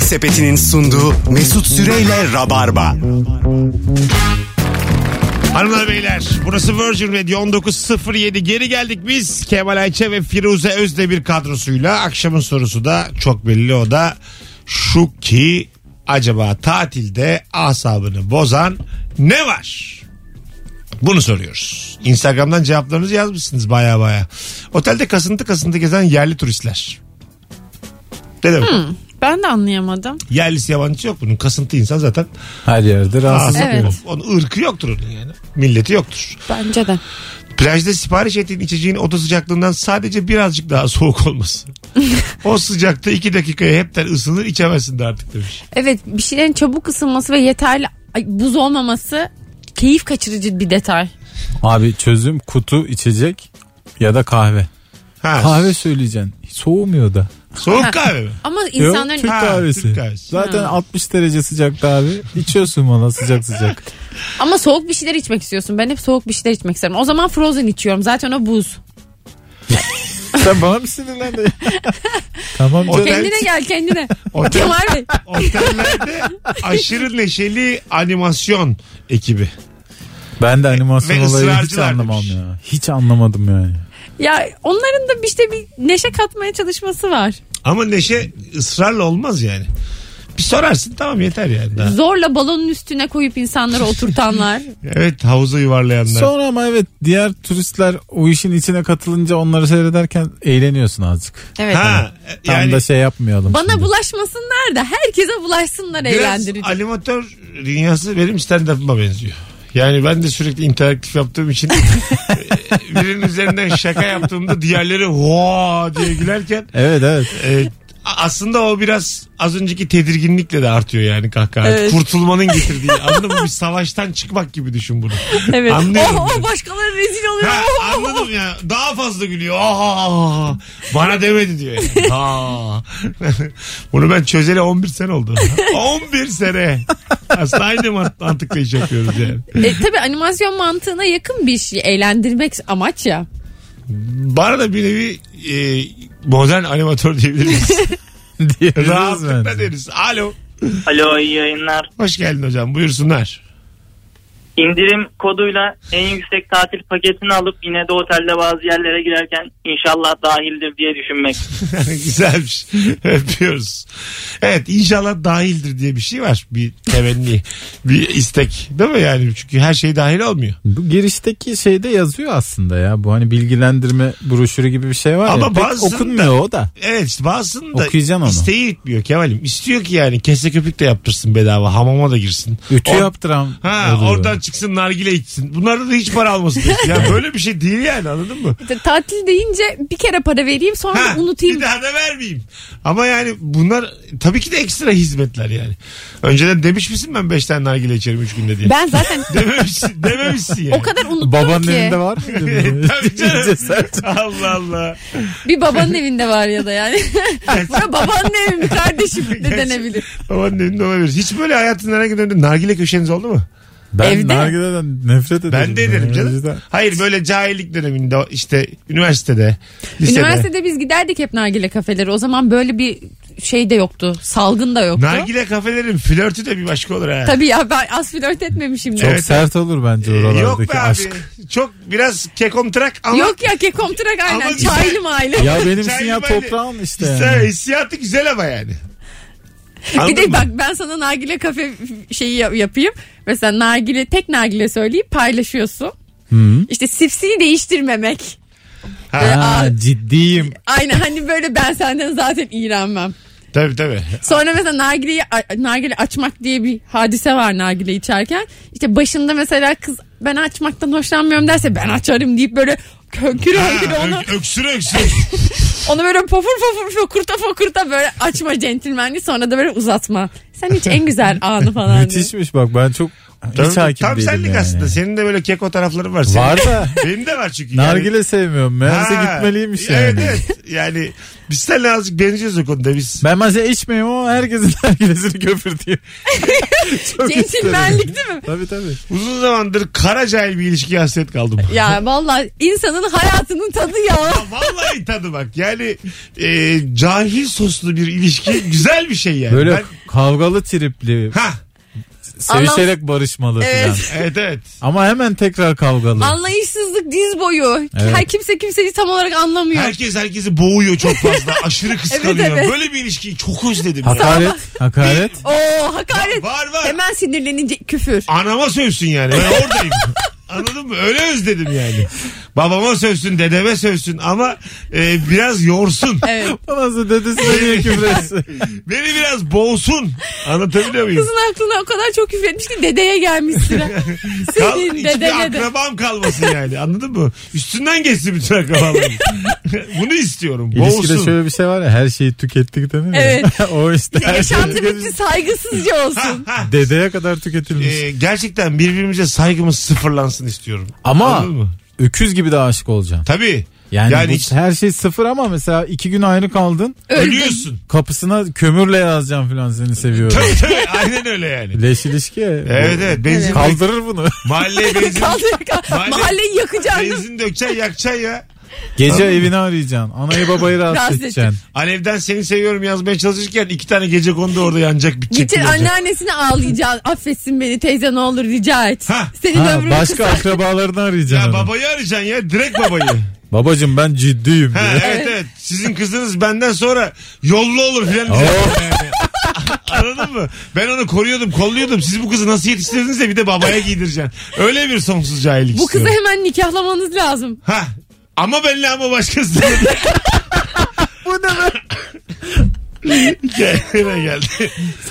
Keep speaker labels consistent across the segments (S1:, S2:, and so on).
S1: Sepeti'nin sunduğu Mesut Süreyle Rabarba.
S2: Hanımlar beyler burası Virgin Radio 19.07 geri geldik biz Kemal Ayça ve Firuze Özdemir kadrosuyla akşamın sorusu da çok belli o da şu ki acaba tatilde asabını bozan ne var? Bunu soruyoruz. Instagram'dan cevaplarınızı yazmışsınız baya baya. Otelde kasıntı kasıntı gezen yerli turistler. Ne demek?
S3: Ben de anlayamadım.
S2: Yerlisi yabancısı yok bunun. Kasıntı insan zaten.
S4: Her yerde rahatsız
S3: Evet.
S4: ediyor.
S2: Onun ırkı yoktur onun yani. Milleti yoktur.
S3: Bence de.
S2: Plajda sipariş ettiğin içeceğin oda sıcaklığından sadece birazcık daha soğuk olması. o sıcakta iki dakikaya hepten ısınır içemezsin de artık demiş.
S3: Evet bir şeylerin çabuk ısınması ve yeterli ay, buz olmaması keyif kaçırıcı bir detay.
S4: Abi çözüm kutu içecek ya da kahve.
S2: Ha,
S4: Kahve söyleyeceksin. Soğumuyor da.
S2: soğuk kahve mi?
S3: Ama
S4: Yok,
S3: insanların
S4: Türk
S2: Ha,
S4: kahvesi.
S2: Türk kahvesi.
S4: Zaten 60 derece sıcakta abi. İçiyorsun bana sıcak sıcak.
S3: ama soğuk bir şeyler içmek istiyorsun. Ben hep soğuk bir şeyler içmek isterim. O zaman frozen içiyorum. Zaten o buz.
S4: Sen bana mı sinirlendin? tamam
S2: O-
S4: canım.
S2: Ben-
S3: Kendine gel kendine.
S2: Otel,
S3: Kemal Bey.
S2: otellerde aşırı neşeli animasyon ekibi.
S4: Ben de animasyon
S2: Ve
S4: olayı hiç
S2: ısrarcılar
S4: anlamam
S2: demiş.
S4: ya. Hiç anlamadım yani.
S3: Ya onların da işte bir neşe katmaya çalışması var.
S2: Ama neşe ısrarla olmaz yani. Bir sorarsın tamam yeter yani. Daha.
S3: Zorla balonun üstüne koyup insanları oturtanlar.
S2: Evet havuza yuvarlayanlar.
S4: Sonra ama evet diğer turistler o işin içine katılınca onları seyrederken eğleniyorsun azıcık.
S3: Evet.
S2: ha,
S4: Tam
S2: yani
S4: da şey yapmayalım.
S3: Bana
S4: şimdi.
S3: bulaşmasınlar da herkese bulaşsınlar
S2: Biraz
S3: eğlendirici.
S2: animatör dünyası benim stand-up'ıma benziyor. Yani ben de sürekli interaktif yaptığım için e, birinin üzerinden şaka yaptığımda diğerleri vaa diye gülerken
S4: Evet evet.
S2: e, a- aslında o biraz az önceki tedirginlikle de artıyor yani kahkaha.
S3: Evet.
S2: Kurtulmanın getirdiği anladın mı? Bir savaştan çıkmak gibi düşün bunu.
S3: Evet.
S2: Anlıyorum.
S3: Oh, oh, başkaları rezil oluyor.
S2: Ha,
S3: Oh, oh, oh.
S2: anladım ya. Daha fazla gülüyor. Ah, Aa, bana demedi diyor. yani. Aa. Bunu ben çözeli 11 sene oldu. 11 sene. Aslında aynı mant- mantıkla iş yapıyoruz yani.
S3: E, tabii animasyon mantığına yakın bir şey. Eğlendirmek amaç ya.
S2: Bana da bir nevi e, modern animatör diyebiliriz.
S4: Diyebiliriz
S2: Rahatlıkla
S4: bence.
S2: deriz. Alo.
S5: Alo iyi yayınlar.
S2: Hoş geldin hocam. Buyursunlar.
S5: İndirim koduyla en yüksek tatil paketini alıp yine de otelde bazı yerlere girerken inşallah dahildir diye düşünmek.
S2: Güzelmiş. Öpüyoruz. Evet inşallah dahildir diye bir şey var. Bir temenni. bir istek. Değil mi yani? Çünkü her şey dahil olmuyor.
S4: Bu girişteki şeyde yazıyor aslında ya. Bu hani bilgilendirme broşürü gibi bir şey var ya.
S2: Ama
S4: Pek
S2: bazısında-
S4: okunmuyor o da.
S2: Evet işte bazısının da
S4: Okuyacaksın onu.
S2: isteği gitmiyor Kemal'im. İstiyor ki yani kese köpük de yaptırsın bedava. Hamama da girsin.
S4: Ütü
S2: Or-
S4: yaptıran.
S2: Ha
S4: oluyor.
S2: oradan çıksın nargile içsin. Bunlarda da hiç para almasın. ya böyle bir şey değil yani anladın mı?
S3: İşte tatil deyince bir kere para vereyim sonra
S2: Ha,
S3: da unutayım.
S2: Bir daha da vermeyeyim. Ama yani bunlar tabii ki de ekstra hizmetler yani. Önceden demiş misin ben 5 tane nargile içerim 3 günde diye.
S3: Ben zaten
S2: Dememişsin, dememişsin yani.
S3: o kadar unuttum
S4: Babanın
S3: ki.
S4: elinde var mıydı? bu?
S2: Tabii canım.
S4: Cesaret.
S2: Allah Allah.
S3: Bir babanın evinde var ya da yani. Bura babanın evi mi kardeşim de denebilir.
S2: Babanın önünde olabilir. Hiç böyle hayatın herhangi bir döneminde nargile köşeniz oldu mu?
S4: Ben
S3: Evde.
S4: nargileden nefret ederim.
S2: Ben de ederim
S4: ya. O
S2: canım.
S4: yüzden-
S2: Hayır böyle cahillik döneminde işte üniversitede, lisede.
S3: Üniversitede biz giderdik hep nargile kafelere. O zaman böyle bir şey de yoktu. Salgın da yoktu.
S2: Nargile kafelerin flörtü de bir başka olur ha.
S3: Tabii ya ben az flört etmemişim.
S4: Çok
S3: de.
S2: Evet.
S4: sert olur bence
S2: Ee, Yok
S4: oralardaki
S2: be
S4: aşk.
S2: abi. Çok biraz kekomtrak ama
S3: Yok ya kekomtrak aynen.
S2: Ama şey- güzel.
S3: Çaylı maile.
S4: Ya benimsin
S2: Çaylı
S4: ya
S2: böyle-
S4: toprağın işte.
S2: Güzel,
S4: yani.
S2: hissiyatı güzel ama yani. Anladın
S3: Bir de
S2: mı?
S3: bak ben sana nargile kafe şeyi yap- yapayım. Mesela nargile tek nargile söyleyip paylaşıyorsun. İşte sipsini değiştirmemek.
S4: Ha, ciddiyim.
S3: Aynen hani böyle ben senden zaten iğrenmem.
S2: Tabii tabii.
S3: Sonra mesela nargileyi a- nargile açmak diye bir hadise var nargile içerken. İşte başında mesela kız ben açmaktan hoşlanmıyorum derse ben açarım deyip böyle könkür
S2: Ha,
S3: onu,
S2: ö- öksür öksür.
S3: onu böyle pofur pofur fokurta fokurta böyle açma centilmenli sonra da böyle uzatma. Sen hiç en güzel anı falan. diye.
S4: Müthişmiş bak ben çok
S2: Tam,
S4: hiç hakim
S2: tam
S4: değilim
S2: senlik
S4: yani.
S2: aslında. Senin de böyle keko tarafların var. Senin-
S4: Var da
S2: Benim de var çünkü. yani.
S4: nargile sevmiyorum. Meğerse
S2: Ha,
S4: gitmeliymiş yani.
S2: Evet evet. Yani biz seninle azıcık benziyoruz o konuda. Biz
S4: Ben mesela içmeyeyim ama herkesin nargilesini köpürteyim. Çok
S3: Centilmenlik
S4: isterim.
S3: değil mi?
S4: Tabii tabii.
S2: uzun zamandır kara cahil bir ilişkiye hasret kaldım.
S3: Ya vallahi insanın hayatının tadı ya.
S2: Vallahi tadı bak. Yani e, cahil soslu bir ilişki güzel bir şey yani.
S4: Böyle
S2: Ben-
S4: kavgalı tripli,
S2: Ha
S4: sevişerek barışmalı
S3: Evet.
S4: falan.
S2: evet evet.
S4: Ama hemen tekrar kavgalı.
S3: Anlayışsızlık diz boyu.
S4: Evet.
S3: Her kimse kimseyi tam olarak anlamıyor.
S2: Herkes herkesi boğuyor çok fazla. Aşırı kıskanıyor.
S3: Evet, evet.
S2: Böyle bir ilişkiyi çok özledim. ya.
S4: hakaret, hakaret.
S3: Oo hakaret.
S2: Var var.
S3: Hemen sinirlenince küfür.
S2: Anama sövsün yani. Ben oradayım. Anladın mı? Öyle özledim yani. Babama sövsün, dedeme sövsün ama e, biraz yorsun.
S3: Evet.
S4: Nasıl dedesine niye küfür etsin?
S2: Beni biraz boğsun. Anlatabiliyor muyum?
S3: Kızın aklına o kadar çok küfür etmiş ki dedeye gelmiş sıra.
S2: Kal,
S3: Senin
S2: hiçbir
S3: dedene de.
S2: akrabam kalmasın yani. Anladın mı? Üstünden geçsin bütün akrabalarım. Bunu istiyorum.
S4: İlişkide
S2: Boğsun.
S4: şöyle bir şey var ya her şeyi tükettik denir ya.
S3: Evet.
S4: o işte her şey
S3: Yaşantı
S4: tüketilmiş.
S3: bitti saygısızca olsun.
S4: Dedeye kadar tüketilmiş.
S2: E, gerçekten birbirimize saygımız sıfırlansın istiyorum.
S4: ama
S2: Anladın mı?
S4: öküz gibi de aşık olacaksın.
S2: Tabii.
S4: Yani,
S2: Yani
S4: bu-
S2: hiç-
S4: her şey sıfır ama mesela iki gün ayrı kaldın.
S2: Ölüyorsun.
S4: Kapısına kömürle yazacağım filan seni seviyorum.
S2: Tabii tabii. Aynen öyle yani.
S4: Leş ilişki. ya.
S2: Evet evet. Benzin
S4: Kaldırır bunu.
S2: Mahalleye benzin.
S3: Kaldır, kaldır.
S2: Mahalle-
S3: Mahalleyi yakacaksın. değil mi?
S2: benzin dökeceksin yakacaksın ya.
S4: Gece evini arayacaksın. Anayı babayı
S3: Rahatsız
S4: rahatsız edeceksin.
S2: Alevden seni seviyorum yazmaya çalışırken iki tane gece kondu orada yanacak bir
S3: Gideceksin
S2: çekti.
S3: anneannesine ağlayacaksın. Affetsin beni teyze ne olur rica et.
S2: Ha.
S3: Senin
S4: Ha,
S3: ömrünü
S4: başka
S3: kısa-
S4: akrabalarını arayacaksın.
S2: Ya
S4: onu.
S2: babayı arayacaksın ya direkt babayı.
S4: Babacım ben ciddiyim
S2: Ha,
S4: diye.
S2: evet evet. Sizin kızınız benden sonra yollu olur filan diyecek. Yani. Anladın mı? Ben onu koruyordum, kolluyordum. Siz bu kızı nasıl yetiştirdiniz de bir de babaya giydireceksin. Öyle bir sonsuz cahillik
S3: Bu kızı
S2: istiyorum.
S3: hemen nikahlamanız lazım.
S2: Ha. Ama benle ama başkası.
S4: Bu ne be?
S2: Gel, geldi.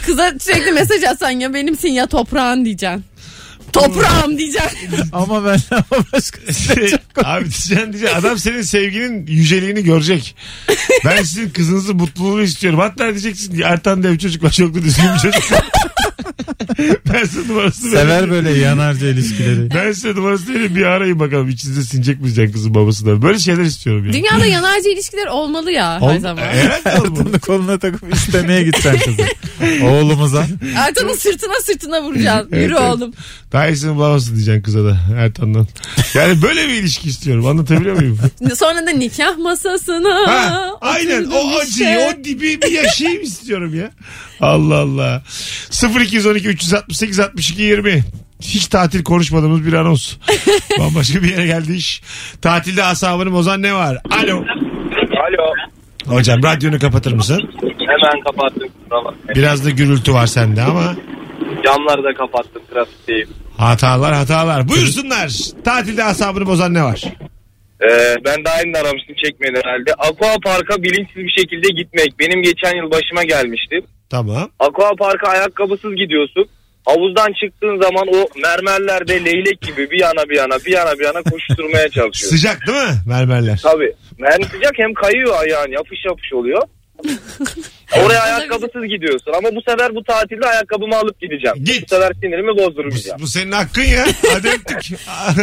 S3: Kıza sürekli mesaj atsan ya benimsin ya toprağın diyeceksin. Toprağım diyeceksin.
S4: Ama ben ama başkası.
S2: Şey, Abi diyeceksin diyeceksin. Adam senin sevginin yüceliğini görecek. Ben sizin kızınızın mutluluğunu istiyorum. Hatta diyeceksin ki Ertan dev çocuk var. Çok da düzgün bir çocuk. ben size numarasını
S4: Sever
S2: veririm.
S4: böyle yanarca ilişkileri.
S2: Ben size numarasını vereyim bir arayın bakalım. İçinize sinecek mi can kızın babasına? Böyle şeyler istiyorum yani.
S3: Dünyada yanarcı ilişkiler olmalı ya her
S4: Ol-
S3: zaman.
S2: Herhalde oğlum.
S4: Bunu koluna takıp istemeye gideceksin kızı. Oğlumuza.
S3: Ertan'ın sırtına sırtına vuracaksın. Yürü
S2: evet.
S3: oğlum.
S2: Daha iyisini bulamazsın diyeceksin kıza da Ertan'dan. Yani böyle bir ilişki istiyorum. Anlatabiliyor muyum?
S3: Sonra da nikah masasına.
S2: Ha, aynen
S3: oturdum
S2: o acıyı
S3: işte.
S2: o dibi bir yaşayayım istiyorum ya. Allah Allah. 0212 368 62 20 hiç tatil konuşmadığımız bir anons. Bambaşka bir yere geldi iş. Tatilde asabını bozan ne var? Alo.
S6: Alo.
S2: Hocam radyonu kapatır mısın?
S6: Hemen kapattım. Tamam.
S2: Biraz da gürültü var sende ama
S6: Camları da kapattım trafikteyim.
S2: hatalar hatalar. Buyursunlar. Tatilde asabını bozan ne var?
S6: Ee, ben daha yeni aramıştım çekmedi herhalde. Aqua Park'a bilinçsiz bir şekilde gitmek. Benim geçen yıl başıma gelmişti.
S2: Tamam.
S6: Aqua Park'a ayakkabısız gidiyorsun. Havuzdan çıktığın zaman o mermerlerde leylek gibi bir yana bir yana bir yana bir yana koşturmaya çalışıyorsun.
S2: Sıcak değil mi mermerler?
S6: Tabii. Hem sıcak hem kayıyor ayağın yapış yapış oluyor. Oraya ayakkabısız gidiyorsun ama bu sefer bu tatilde ayakkabımı alıp gideceğim.
S2: Git.
S6: Bu sefer sinirimi
S2: Bu,
S6: bozdurmayacağım.
S2: bu senin hakkın ya. Hadi öptük.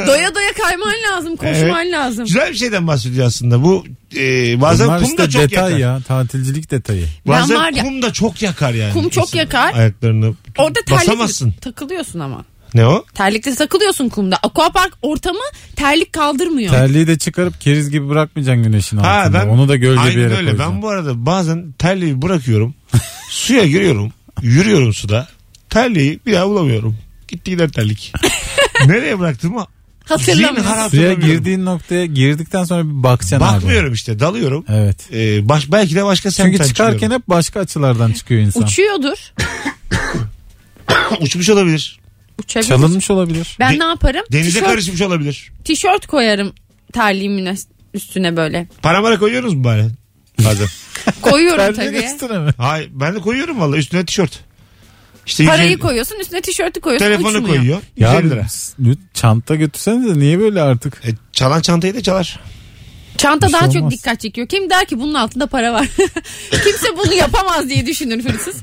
S3: Doya doya kayman lazım. Koşman
S2: Evet.
S3: lazım.
S2: Güzel bir şeyden bahsediyor aslında. Bu e, bazen
S4: Bunlar
S2: kum da
S4: işte
S2: çok
S4: detay
S2: yakar.
S4: ya. Tatilcilik detayı.
S2: Bazen
S3: Ben var ya-
S2: kum da çok yakar yani.
S3: Kum çok
S2: İnsan
S3: yakar.
S2: Ayaklarını
S3: Orada terlik
S2: basamazsın.
S3: takılıyorsun ama.
S2: Ne o?
S3: Terlikle takılıyorsun kumda. Aquapark ortamı terlik kaldırmıyor.
S4: Terliği de çıkarıp keriz gibi bırakmayacaksın güneşin altında.
S2: Ha ben
S4: Onu da gölge
S2: Aynen
S4: bir yere
S2: öyle.
S4: koyacaksın.
S2: Ben bu arada bazen terliği bırakıyorum. suya giriyorum. Yürüyorum suda. Terliği bir daha bulamıyorum. Gitti gider terlik. Nereye bıraktığımı zihin
S3: Hatırlamıyorsun.
S2: harap-
S4: Suya
S2: hatırlamıyorum.
S4: girdiğin noktaya girdikten sonra bir bakacaksın abi.
S2: bakmıyorum işte. Dalıyorum.
S4: Evet.
S2: Ee, baş, belki de başka semtten
S4: Çünkü çıkarken
S2: çıkıyorum.
S4: hep başka açılardan çıkıyor insan.
S3: Uçuyordur.
S2: Uçmuş olabilir.
S3: Uçabilir.
S4: Çalınmış olabilir.
S3: Ben
S2: De-
S3: ne yaparım?
S2: Denize
S3: tişört,
S2: karışmış olabilir.
S3: tişört koyarım terliğimin üst- üstüne böyle.
S2: Paramara koyuyoruz mu bari? Bazen.
S3: Koyuyorum
S4: Terliğin
S3: tabii.
S4: üstüne mi?
S2: Hayır ben de koyuyorum valla üstüne tişört. İşte
S3: Parayı
S2: yüz elli-
S3: koyuyorsun üstüne tişörtü koyuyorsun
S2: Telefonu
S3: uçmuyor.
S2: koyuyor.
S4: Ya
S2: 150 lira.
S4: lüt- çanta götürsenize niye böyle artık?
S2: E, çalan çantayı da çalar.
S3: Çanta
S4: Bir şey
S3: daha çok
S4: olmaz.
S3: dikkat çekiyor. Kim der ki bunun altında para var? Kimse bunu yapamaz diye düşünür hırsız.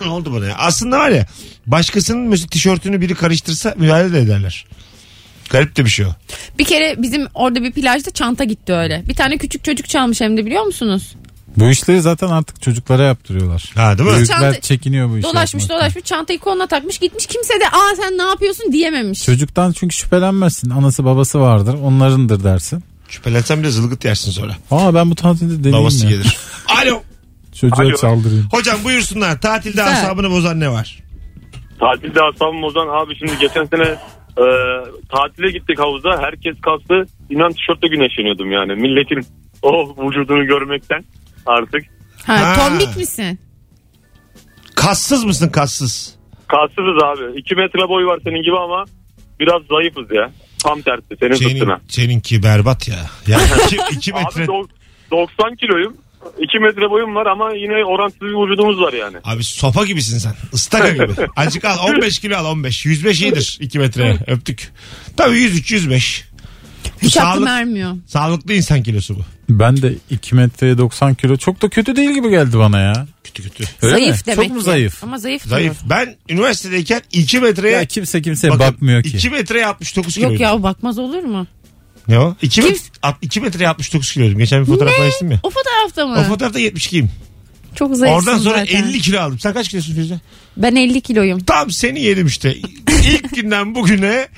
S2: ne oldu bana ya? Aslında var ya başkasının mesela tişörtünü biri karıştırsa müdahale de ederler. Garip de bir şey o.
S3: Bir kere bizim orada bir plajda çanta gitti öyle. Bir tane küçük çocuk çalmış hem de biliyor musunuz?
S4: Bu işleri zaten artık çocuklara yaptırıyorlar.
S2: Ha değil mi?
S4: Büyükler
S3: Çanta-
S4: çekiniyor bu işi.
S3: Dolaşmış
S4: yapmaktan.
S3: dolaşmış çantayı koluna takmış gitmiş. Kimse de aa sen ne yapıyorsun diyememiş.
S4: Çocuktan çünkü şüphelenmezsin. Anası babası vardır. Onlarındır dersin.
S2: Şüphelensem bile zılgıt yersin sonra.
S4: Aa ben bu tatilde deneyim
S2: Babası
S4: ya.
S2: gelir. Alo.
S4: Çocuğa
S7: Alo.
S4: çaldırayım.
S2: Hocam buyursunlar. Tatilde
S3: Güzel.
S2: asabını bozan ne var?
S7: Tatilde asabım bozan abi şimdi geçen sene e, tatile gittik havuza. Herkes kastı. İnan tişörtle güneşleniyordum yani. Milletin o vücudunu görmekten artık.
S3: Ha,
S2: Ha.
S3: Tombik misin?
S2: Kassız mısın kassız?
S7: Kassızız abi. 2 metre boy var senin gibi ama biraz zayıfız ya. Tam tersi senin
S2: Senin,
S7: fıstığına.
S2: seninki berbat ya. Yani iki, iki metre.
S7: Abi dok- 90 kiloyum. 2 metre boyum var ama yine orantısız bir vücudumuz var yani.
S2: Abi sopa gibisin sen. Istaka gibi. Acık al 15 kilo al 15. 105 iyidir 2 metre. Öptük. Tabii 103 105. Bu
S3: Hiç aklım
S2: sağlık-
S3: ermiyor.
S2: Sağlıklı insan kilosu bu.
S4: Ben de 2 metreye 90 kilo çok da kötü değil gibi geldi bana ya.
S2: Kötü kötü.
S4: Öyle
S3: zayıf
S4: mi?
S3: demek
S4: Çok mu
S3: ki.
S4: zayıf?
S3: Ama zayıf.
S2: Zayıf.
S3: diyor.
S2: Ben üniversitedeyken 2 metreye
S4: Ya kimse kimseye
S2: Bakın,
S4: bakmıyor ki.
S2: 2 metreye 69 kiloydum.
S3: Yok ya o bakmaz olur mu?
S2: Ne o? 2,
S3: Kim-
S2: met- at- 2 metreye 69 kiloydum. Geçen bir fotoğraf paylaştım ya.
S3: O fotoğrafta mı?
S2: O fotoğrafta 72'yim.
S3: Çok zayıfsın
S2: Oradan sonra
S3: zaten.
S2: 50 kilo aldım. Sen kaç kilosun Firuze?
S3: Ben 50 kiloyum.
S2: Tam seni yedim işte. İlk günden bugüne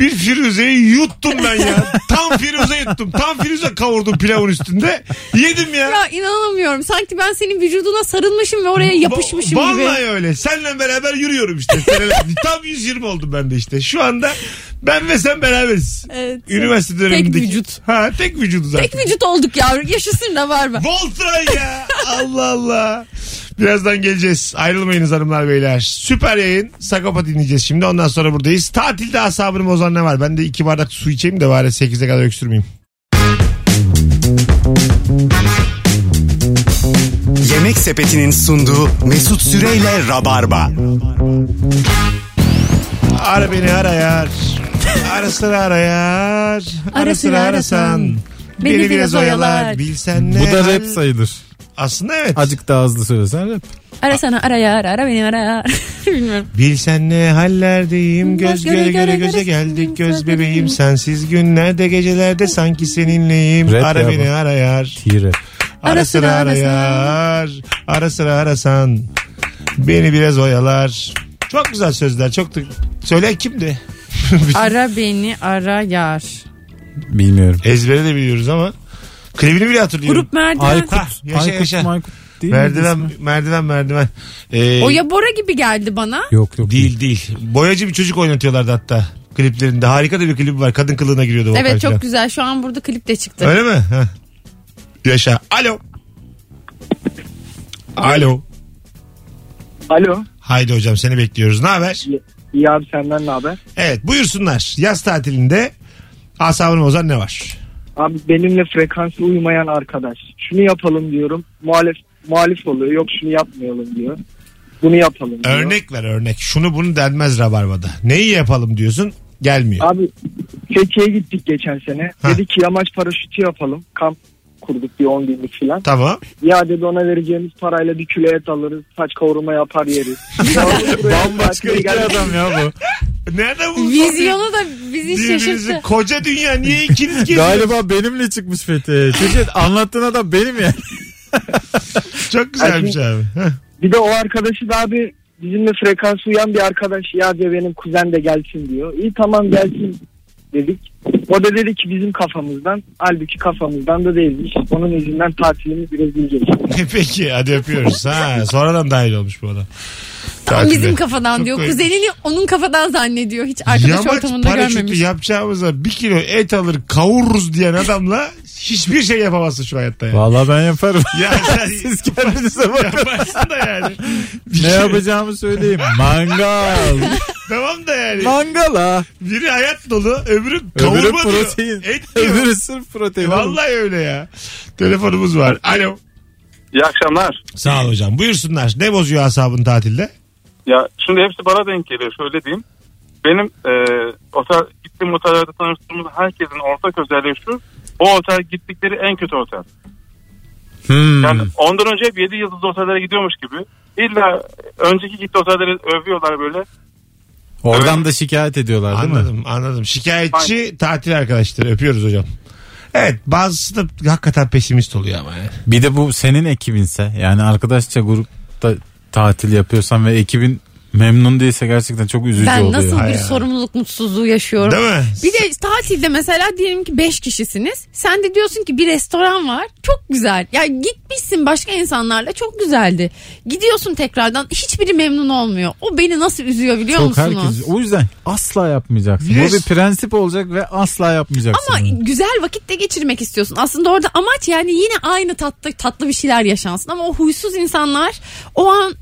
S2: bir Firuze'yi yuttum ben ya. Tam Firuze yuttum. Tam Firuze kavurdum pilavın üstünde. Yedim ya.
S3: Ya inanamıyorum. Sanki ben senin vücuduna sarılmışım ve oraya yapışmışım
S2: Vallahi
S3: gibi.
S2: öyle. Seninle beraber yürüyorum işte. Seneler- Tam 120 oldum ben de işte. Şu anda ben ve sen beraberiz.
S3: Evet.
S2: Üniversite dönemindeki.
S3: vücut.
S2: Ha tek vücudu zaten.
S3: Tek vücut olduk yavrum. Yaşasın da var mı?
S2: Voltron ya. Allah Allah. Birazdan geleceğiz. Ayrılmayınız hanımlar beyler. Süper yayın. Sakopa dinleyeceğiz şimdi. Ondan sonra buradayız. Tatilde asabını bozan ne var? Ben de iki bardak su içeyim de bari 8'e kadar öksürmeyeyim.
S1: Yemek Sepeti'nin sunduğu Mesut Süreyle Rabarba.
S2: Ara beni ara yar. Ara sıra ara yar. Ara sıra
S3: Ara sıra
S2: arasan.
S3: arasan.
S2: Beni, biraz oyalar. Bilsen ne
S4: Bu da rap
S2: hal-
S4: sayılır.
S2: Aslında evet.
S4: Azıcık daha hızlı söylesen rap.
S3: Ara sana ara ya ara, ara beni ara ya. Bilmiyorum.
S2: Bilsen ne hallerdeyim göz
S3: Göz göre
S2: göre göre
S3: göre
S2: göze
S3: göre
S2: geldik
S3: sindim,
S2: göz
S3: göz
S2: bebeğim
S3: bebeğim.
S2: sensiz günlerde gecelerde sanki seninleyim
S4: Rap
S2: ara
S4: ya
S2: beni
S4: bu.
S2: ara yar
S4: T-rap.
S2: ara sıra
S3: Ara sıra
S2: ara
S3: arasan.
S2: yar ara sıra arasan beni biraz oyalar çok güzel sözler çok da... söyleyen kimdi?
S3: Ara beni ara yar.
S4: Bilmiyorum.
S2: Ezbere de biliyoruz ama klibini bile hatırlıyorum.
S3: Grup merdiven.
S4: Aykut.
S2: Ha, yaşa,
S4: Aykut
S2: yaşa.
S4: Maykut değil mi
S2: merdiven,
S4: ismi?
S2: merdiven merdiven Ee,
S3: O ya Bora gibi geldi bana.
S4: Yok yok.
S2: değil değil boyacı bir çocuk oynatıyorlardı hatta kliplerinde harika da bir klibi var kadın kılığına giriyordu. vokal
S3: Evet
S2: falan.
S3: çok güzel. Şu an burada klip de çıktı.
S2: Öyle mi? Heh. Yaşa. Alo. Alo.
S8: Alo.
S2: Haydi hocam seni bekliyoruz. Ne haber?
S8: İyi abi senden ne haber?
S2: Evet buyursunlar. Yaz tatilinde asabını bozan ne var?
S8: Abi benimle frekansı uymayan arkadaş. Şunu yapalım diyorum. Muhalif muhalif oluyor. Yok şunu yapmayalım diyor. Bunu yapalım diyor.
S2: Örnek ver örnek. Şunu bunu denmez Rabarba'da. Neyi yapalım diyorsun gelmiyor.
S8: Abi Fethiye'ye gittik geçen sene.
S2: Ha.
S8: Dedi ki yamaç paraşütü yapalım. Kamp kurduk bir 10 günlük filan.
S2: Tamam.
S8: Ya dedi ona vereceğimiz parayla bir kilo et alırız. Saç kavurma yapar yeriz.
S4: Bambaşka şey iki adam ya bu.
S2: Nerede bu?
S3: Vizyonu da bizi
S2: Birbirinizi
S3: şaşırttı.
S2: koca dünya niye ikiniz geziyorsunuz?
S4: Galiba benimle çıkmış Fethi. Çünkü anlattığın adam benim ya.
S2: Çok güzelmiş abi. Heh.
S8: Bir de o arkadaşı da abi bizimle frekans uyan bir arkadaş ya diyor benim kuzen de gelsin diyor. İyi tamam gelsin dedik. O da dedi ki bizim kafamızdan halbuki kafamızdan da değilmiş. Onun yüzünden tatilimiz rezil geçti.
S2: E Peki hadi yapıyoruz. Ha, sonradan dahil olmuş bu adam.
S3: Tam
S2: Tatile.
S3: bizim kafadan
S2: Çok
S3: diyor.
S2: koymuş.
S3: Kuzenini onun kafadan zannediyor. Hiç arkadaş ortamında
S2: paraşütü
S3: görmemiş.
S2: yapacağımıza bir kilo et alır kavururuz diyen adamla hiçbir şey yapamazsın şu hayatta yani.
S4: Vallahi ben yaparım.
S2: Ya sen
S4: Siz kendinize bakın.
S2: yaparsın da yani. şey-
S4: ne yapacağımı söyleyeyim. Mangal.
S2: Tamam da yani.
S4: Mangal ha.
S2: Biri hayat dolu öbürü kavurma
S4: Öbürü
S2: öbürü diyor.
S4: protein.
S2: Et diyor.
S4: Öbürü sırf protein.
S2: Vallahi öyle ya. Telefonumuz var. Alo.
S7: İyi akşamlar.
S2: Sağ ol hocam. Buyursunlar. Ne bozuyor asabın tatilde?
S7: Ya şimdi hepsi bana denk geliyor şöyle diyeyim. Benim e, otel gittiğim otellerde tanıştığımız herkesin ortak özelliği şu. O otel gittikleri en kötü otel.
S4: Hmm.
S7: Yani ondan önce hep 7 yıldızlı otellere gidiyormuş gibi. İlla önceki gitti otellere övüyorlar böyle.
S4: Oradan da şikayet ediyorlar değil mi?
S2: Anladım anladım. Şikayetçi tatil arkadaşları öpüyoruz hocam. Evet bazısı da hakikaten pesimist oluyor ama. yani.
S4: Bir de bu senin ekibinse yani arkadaşça grupta tatil yapıyorsan ve ekibin memnun değilse gerçekten çok üzücü
S3: Ben
S4: oluyor.
S3: nasıl bir
S2: Hay Allah.
S3: sorumluluk mutsuzluğu yaşıyorum.
S2: Değil mi?
S3: Bir de tatilde mesela diyelim ki 5 kişisiniz. Sen de diyorsun ki bir restoran var. Çok güzel. Ya gitmişsin başka insanlarla çok güzeldi. Gidiyorsun tekrardan hiçbiri memnun olmuyor. O beni nasıl üzüyor biliyor
S4: çok
S3: musunuz?
S4: herkes. O yüzden asla yapmayacaksın.
S2: Yes.
S4: Bu bir prensip olacak ve asla yapmayacaksın.
S3: Ama
S4: bunu.
S3: güzel vakitte geçirmek istiyorsun. Aslında orada amaç yani yine aynı tatlı tatlı bir şeyler yaşansın ama o huysuz insanlar o an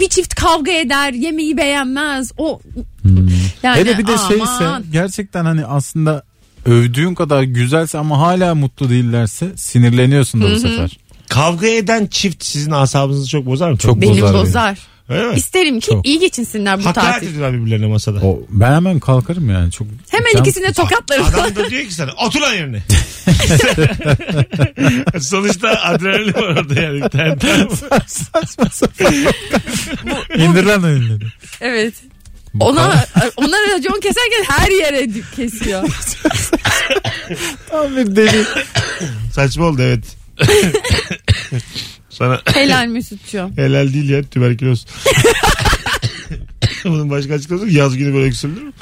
S3: bir çift kavga eder, yemeği beğenmez. O yani
S4: Hmm. Hele bir de
S3: aman.
S4: şeyse gerçekten hani aslında övdüğün kadar güzelse ama hala mutlu değillerse sinirleniyorsun da bu sefer.
S2: Kavga eden çift sizin asabınızı çok bozar mı?
S4: Çok
S3: benim
S4: bozar
S3: bozar.
S4: beni.
S2: Öyle mi?
S3: İsterim ki
S4: Çok.
S3: iyi geçinsinler bu
S2: Hakaret
S3: tatil.
S2: ediyorlar birbirlerine masada.
S4: O, ben hemen kalkarım yani. Çok
S3: Hemen
S4: can-
S3: ikisine tokatlarım.
S2: Adam da diyor ki sana otur lan yerine. Sonuçta adrenalin var orada yani. Bir tane, tamam mı?
S4: Saçma sapan. İndir lan elini.
S3: evet. Ona ona racon keserken her yere d- kesiyor.
S4: Tam bir deli.
S2: Saçma oldu evet. sana
S3: Helal Mesut'cuğum.
S2: helal değil ya tüberküloz. Bunun başka açıklaması yok. Yaz günü böyle öksürülür mü?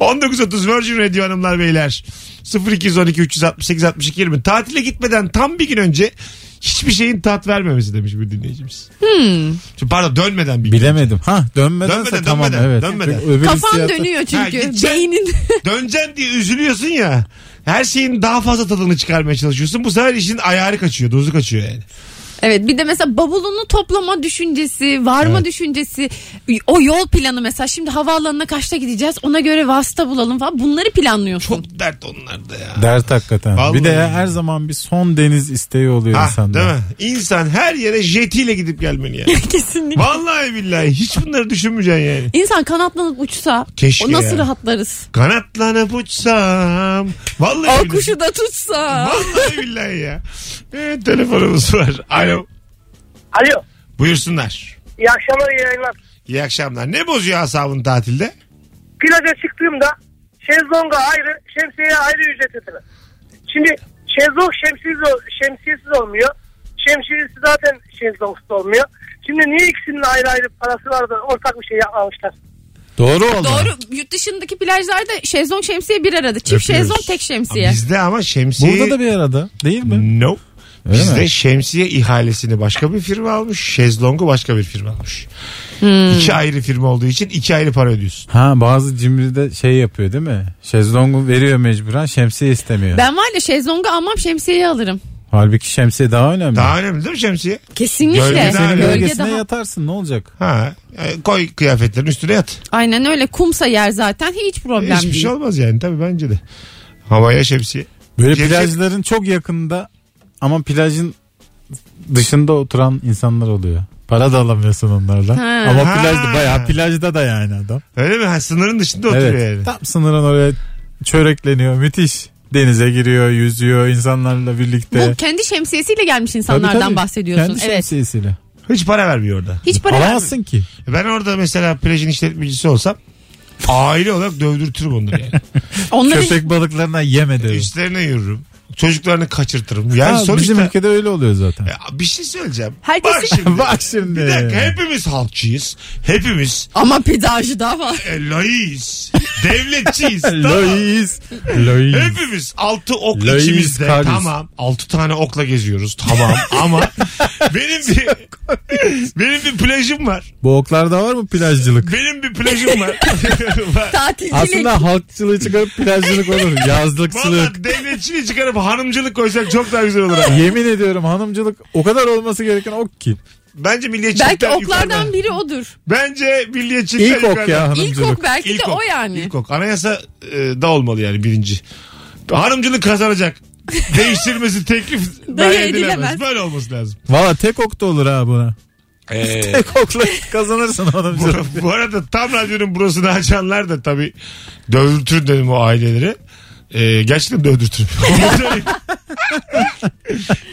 S2: 19.30 Virgin Radio hanımlar beyler. 0212 368 62 20. Tatile gitmeden tam bir gün önce hiçbir şeyin tat vermemesi demiş bir dinleyicimiz. Şimdi pardon dönmeden bir gün.
S4: Bilemedim. Ha dönmedense
S2: Dönmeden,
S4: tamam
S2: dönmeden,
S4: evet.
S2: dönmeden.
S4: Çünkü öbür
S3: Kafan
S4: hissiyata-
S3: dönüyor
S2: Ha,
S3: çünkü.
S2: gideceksin.
S3: Beynin.
S2: Döneceksin diye üzülüyorsun ya. Her şeyin daha fazla tadını çıkarmaya çalışıyorsun. Bu sefer işin ayarı kaçıyor, dozu kaçıyor yani.
S3: Evet bir de mesela bavulunu toplama düşüncesi, varma düşüncesi, o yol planı mesela şimdi havaalanına kaçta gideceğiz ona göre vasıta bulalım falan bunları planlıyorsun.
S2: Çok dert onlarda ya.
S4: Dert hakikaten.
S2: Vallahi.
S4: Bir de ya her zaman bir son deniz isteği oluyor
S2: Ha,
S4: insanda.
S2: değil mi? İnsan her yere jetiyle gidip gelmeli yani.
S3: Kesinlikle.
S2: Vallahi billahi hiç bunları düşünmeyeceksin yani.
S3: İnsan kanatlanıp uçsa
S2: Keşke
S3: o nasıl
S2: ya.
S3: rahatlarız?
S2: Kanatlanıp uçsam. Vallahi
S3: O
S2: billahi.
S3: kuşu da tutsa.
S2: Vallahi billahi ya. Evet, telefonumuz var. Alo.
S6: Alo.
S2: Buyursunlar.
S6: İyi akşamlar iyi yayınlar.
S2: İyi akşamlar. Ne bozuyor asabını tatilde?
S6: plaja çıktığımda şezlonga ayrı, şemsiyeye ayrı ücret ödedim. Şimdi şezlong şemsiyesiz, ol- şemsiyesiz olmuyor. Şemsiyesi zaten şezlongsuz olmuyor. Şimdi niye ikisinin ayrı ayrı parası var da ortak bir şey yapmamışlar?
S4: Doğru oldu.
S3: Doğru yurt dışındaki plajlarda şezlong şemsiye bir arada. Çift
S4: Öpüyoruz.
S3: şezlong tek şemsiye.
S2: Bizde ama şemsiye...
S4: Burada da bir arada değil mi?
S2: No.
S4: Öyle
S2: Bizde
S4: mi?
S2: şemsiye ihalesini başka bir firma almış. Şezlong'u başka bir firma almış.
S4: Hmm.
S2: İki ayrı firma olduğu için iki ayrı para ödüyorsun.
S4: Ha bazı cimride şey yapıyor değil mi? Şezlongu veriyor mecburen şemsiye istemiyor.
S3: Ben var ya şezlongu almam şemsiyeyi alırım.
S4: Halbuki şemsiye daha önemli.
S2: Daha önemli değil mi şemsiye?
S3: Kesinlikle.
S2: Gölge daha
S4: Senin
S2: önemli.
S3: Gölge
S4: bölgesine
S3: daha-
S4: yatarsın ne olacak?
S2: Ha. e, Koy kıyafetlerin üstüne yat.
S3: Aynen öyle kumsa yer zaten hiç problem
S2: Hiçbir
S3: değil.
S2: şey olmaz yani tabii bence de. Havaya şemsiye.
S4: Böyle
S2: Şemsiye-
S4: plajların çok yakında ama plajın dışında oturan insanlar oluyor. Para da alamıyorsun onlardan.
S3: Ha.
S4: Ama
S2: Ha.
S4: plajda bayağı plajda da yani adam.
S2: Öyle mi? Ha, sınırın dışında oturuyor
S4: Evet.
S2: yani.
S4: Tam sınırın oraya çörekleniyor. Müthiş. Denize giriyor, yüzüyor insanlarla birlikte.
S3: Bu kendi şemsiyesiyle gelmiş
S4: Tabii,
S3: insanlardan
S4: tabii.
S3: bahsediyorsun.
S4: Kendi
S3: evet.
S4: şemsiyesiyle.
S2: Hiç para vermiyor orada. E,
S3: Hiç para vermiyor.
S4: Alamazsın ki.
S2: Ben orada mesela plajın işletmecisi olsam aile olarak dövdürtürüm onları yani.
S3: Onların
S4: Köpek balıklarına
S2: E,
S4: yeme derim.
S2: Üstlerine yürürüm. Çocuklarını kaçırtırım. Yani
S4: Ha,
S2: sonuçta...
S4: Bizim ülkede öyle oluyor zaten.
S2: Ya bir şey söyleyeceğim.
S3: Herkesin-
S2: Bak şimdi.
S4: Bak şimdi.
S2: Bir dakika
S4: Ee.
S2: hepimiz halkçıyız. Hepimiz
S3: ama pedajı daha var.
S2: e, layığız. Devletçiyiz. tamam.
S4: Lois. Lois.
S2: Hepimiz altı ok
S4: Layığız,
S2: içimizde.
S4: karız.
S2: Tamam. Altı tane okla geziyoruz. Tamam ama benim bir benim bir plajım var.
S4: Bu oklarda var mı plajcılık?
S2: Benim bir plajım var. Var.
S3: Tatilcilik.
S4: Aslında halkçılığı çıkarıp plajcılık olur. Yazlıkçılık.
S2: Valla devletçiliği çıkarıp hanımcılık koysak çok daha güzel olur. ha.
S4: Yemin ediyorum hanımcılık o kadar olması gereken ok ki.
S2: Bence milliyetçilikten
S3: Belki oklardan
S2: yukarıda.
S3: biri odur.
S2: Bence milliyetçilikten
S4: İlk ok
S2: yukarıda.
S4: ya
S3: İlk
S4: hanımcılık.
S3: ok belki
S2: İlk
S3: de
S2: ok.
S3: o yani.
S2: İlk ok. Anayasa e, da olmalı yani birinci. Hanımcılık kazanacak. Değiştirmesi teklif dahi edilemez.
S3: edilemez.
S2: Böyle olması lazım.
S4: Valla tek ok da olur ha buna.
S2: Ee,
S4: Tek okla kazanırsın
S2: bu,
S4: hanımcılık.
S2: bu arada tam radyonun burasını açanlar da tabii dövültür dedim o aileleri. Ee, gerçekten dövdürtür. Onu söyleyeyim.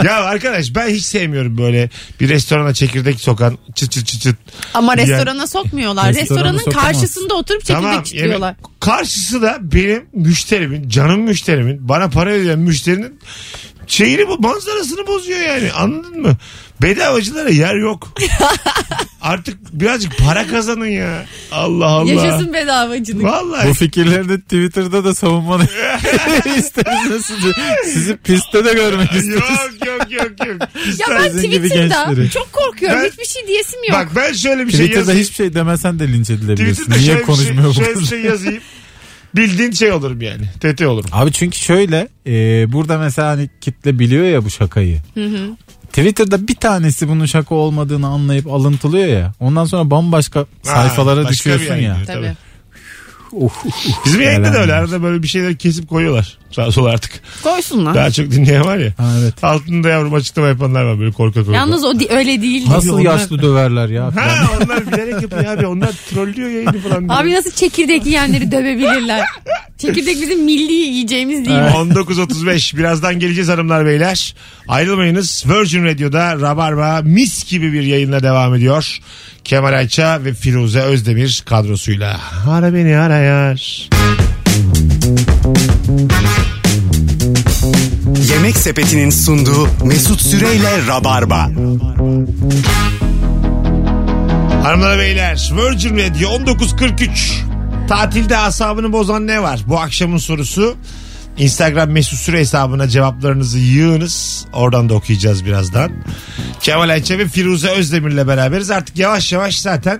S2: ya arkadaş ben hiç sevmiyorum böyle bir restorana çekirdek sokan çıt çıt çıt çıt.
S3: Ama
S2: Yani-
S3: restorana sokmuyorlar.
S4: Restorana
S3: Restoranın
S4: sokamaz.
S3: karşısında oturup çekirdek
S2: Tamam.
S3: çitliyorlar.
S2: yemek- Karşısı da benim müşterimin, canım müşterimin, bana para ödeyen müşterinin şeyini bu manzarasını bozuyor yani. Anladın mı? Bedavacılara yer yok. Artık birazcık para kazanın ya. Allah Allah.
S3: Yaşasın bedavacılık.
S2: Vallahi
S4: Bu fikirleri de Twitter'da da savunmanı isteriz. Sizi, sizi pistte de görmek isteriz.
S2: yok yok yok yok.
S3: Ya ben
S4: Sizin gibi
S3: Twitter'da
S4: gençleri.
S3: çok korkuyorum.
S2: Ben-
S3: Hiçbir şey diyesim yok.
S2: Bak ben şöyle bir şey
S4: Twitter'da
S2: yazayım.
S4: hiçbir şey demesen de linç edilebilirsin.
S2: Twitter'da
S4: Niye
S2: şöyle, bir şey,
S4: konuşmuyor bu
S2: şöyle bir
S4: kız?
S2: şey yazayım. Bildiğin şey olurum yani. Tete olurum.
S4: Abi çünkü şöyle e, burada mesela hani kitle biliyor ya bu şakayı. Twitter'da bir tanesi bunun şaka olmadığını anlayıp alıntılıyor ya. Ondan sonra bambaşka sayfalara
S2: başka bir
S4: düşüyorsun
S2: yere
S4: ya.
S2: gidiyor.
S3: Tabii.
S2: Tabii. Bizim yayında da
S4: Helal
S2: öyle.
S4: olsun.
S2: Arada böyle bir şeyleri kesip koyuyorlar. Sağ sol artık.
S3: Koysunlar.
S2: Daha çok dinleyen var ya.
S4: Ha, evet.
S2: Altında yavrum açıklama yapanlar var böyle korka korka.
S3: Yalnız o di- öyle değil.
S4: Nasıl yaşlı döverler ya. falan.
S2: Ha onlar bilerek yapıyor abi. Onlar trollüyor yayını falan. diyor.
S3: Abi nasıl çekirdek yiyenleri dövebilirler? çekirdek bizim milli yiyeceğimiz değil. mi?
S2: 19.35 birazdan geleceğiz hanımlar beyler. Ayrılmayınız. Virgin Radio'da Rabarba mis gibi bir yayınla devam ediyor. Kemal Ayça ve Firuze Özdemir kadrosuyla. Ara beni ara yar.
S1: Yemek Sepeti'nin sunduğu Mesut Süreyle Rabarba.
S2: Hanımlar beyler Virgin Radio 1943 tatilde asabını bozan ne var? Bu akşamın sorusu Instagram mesut süre hesabına cevaplarınızı yığınız. Oradan da okuyacağız birazdan. Kemal Ayça ve Firuze Özdemir'le beraberiz. Artık yavaş yavaş zaten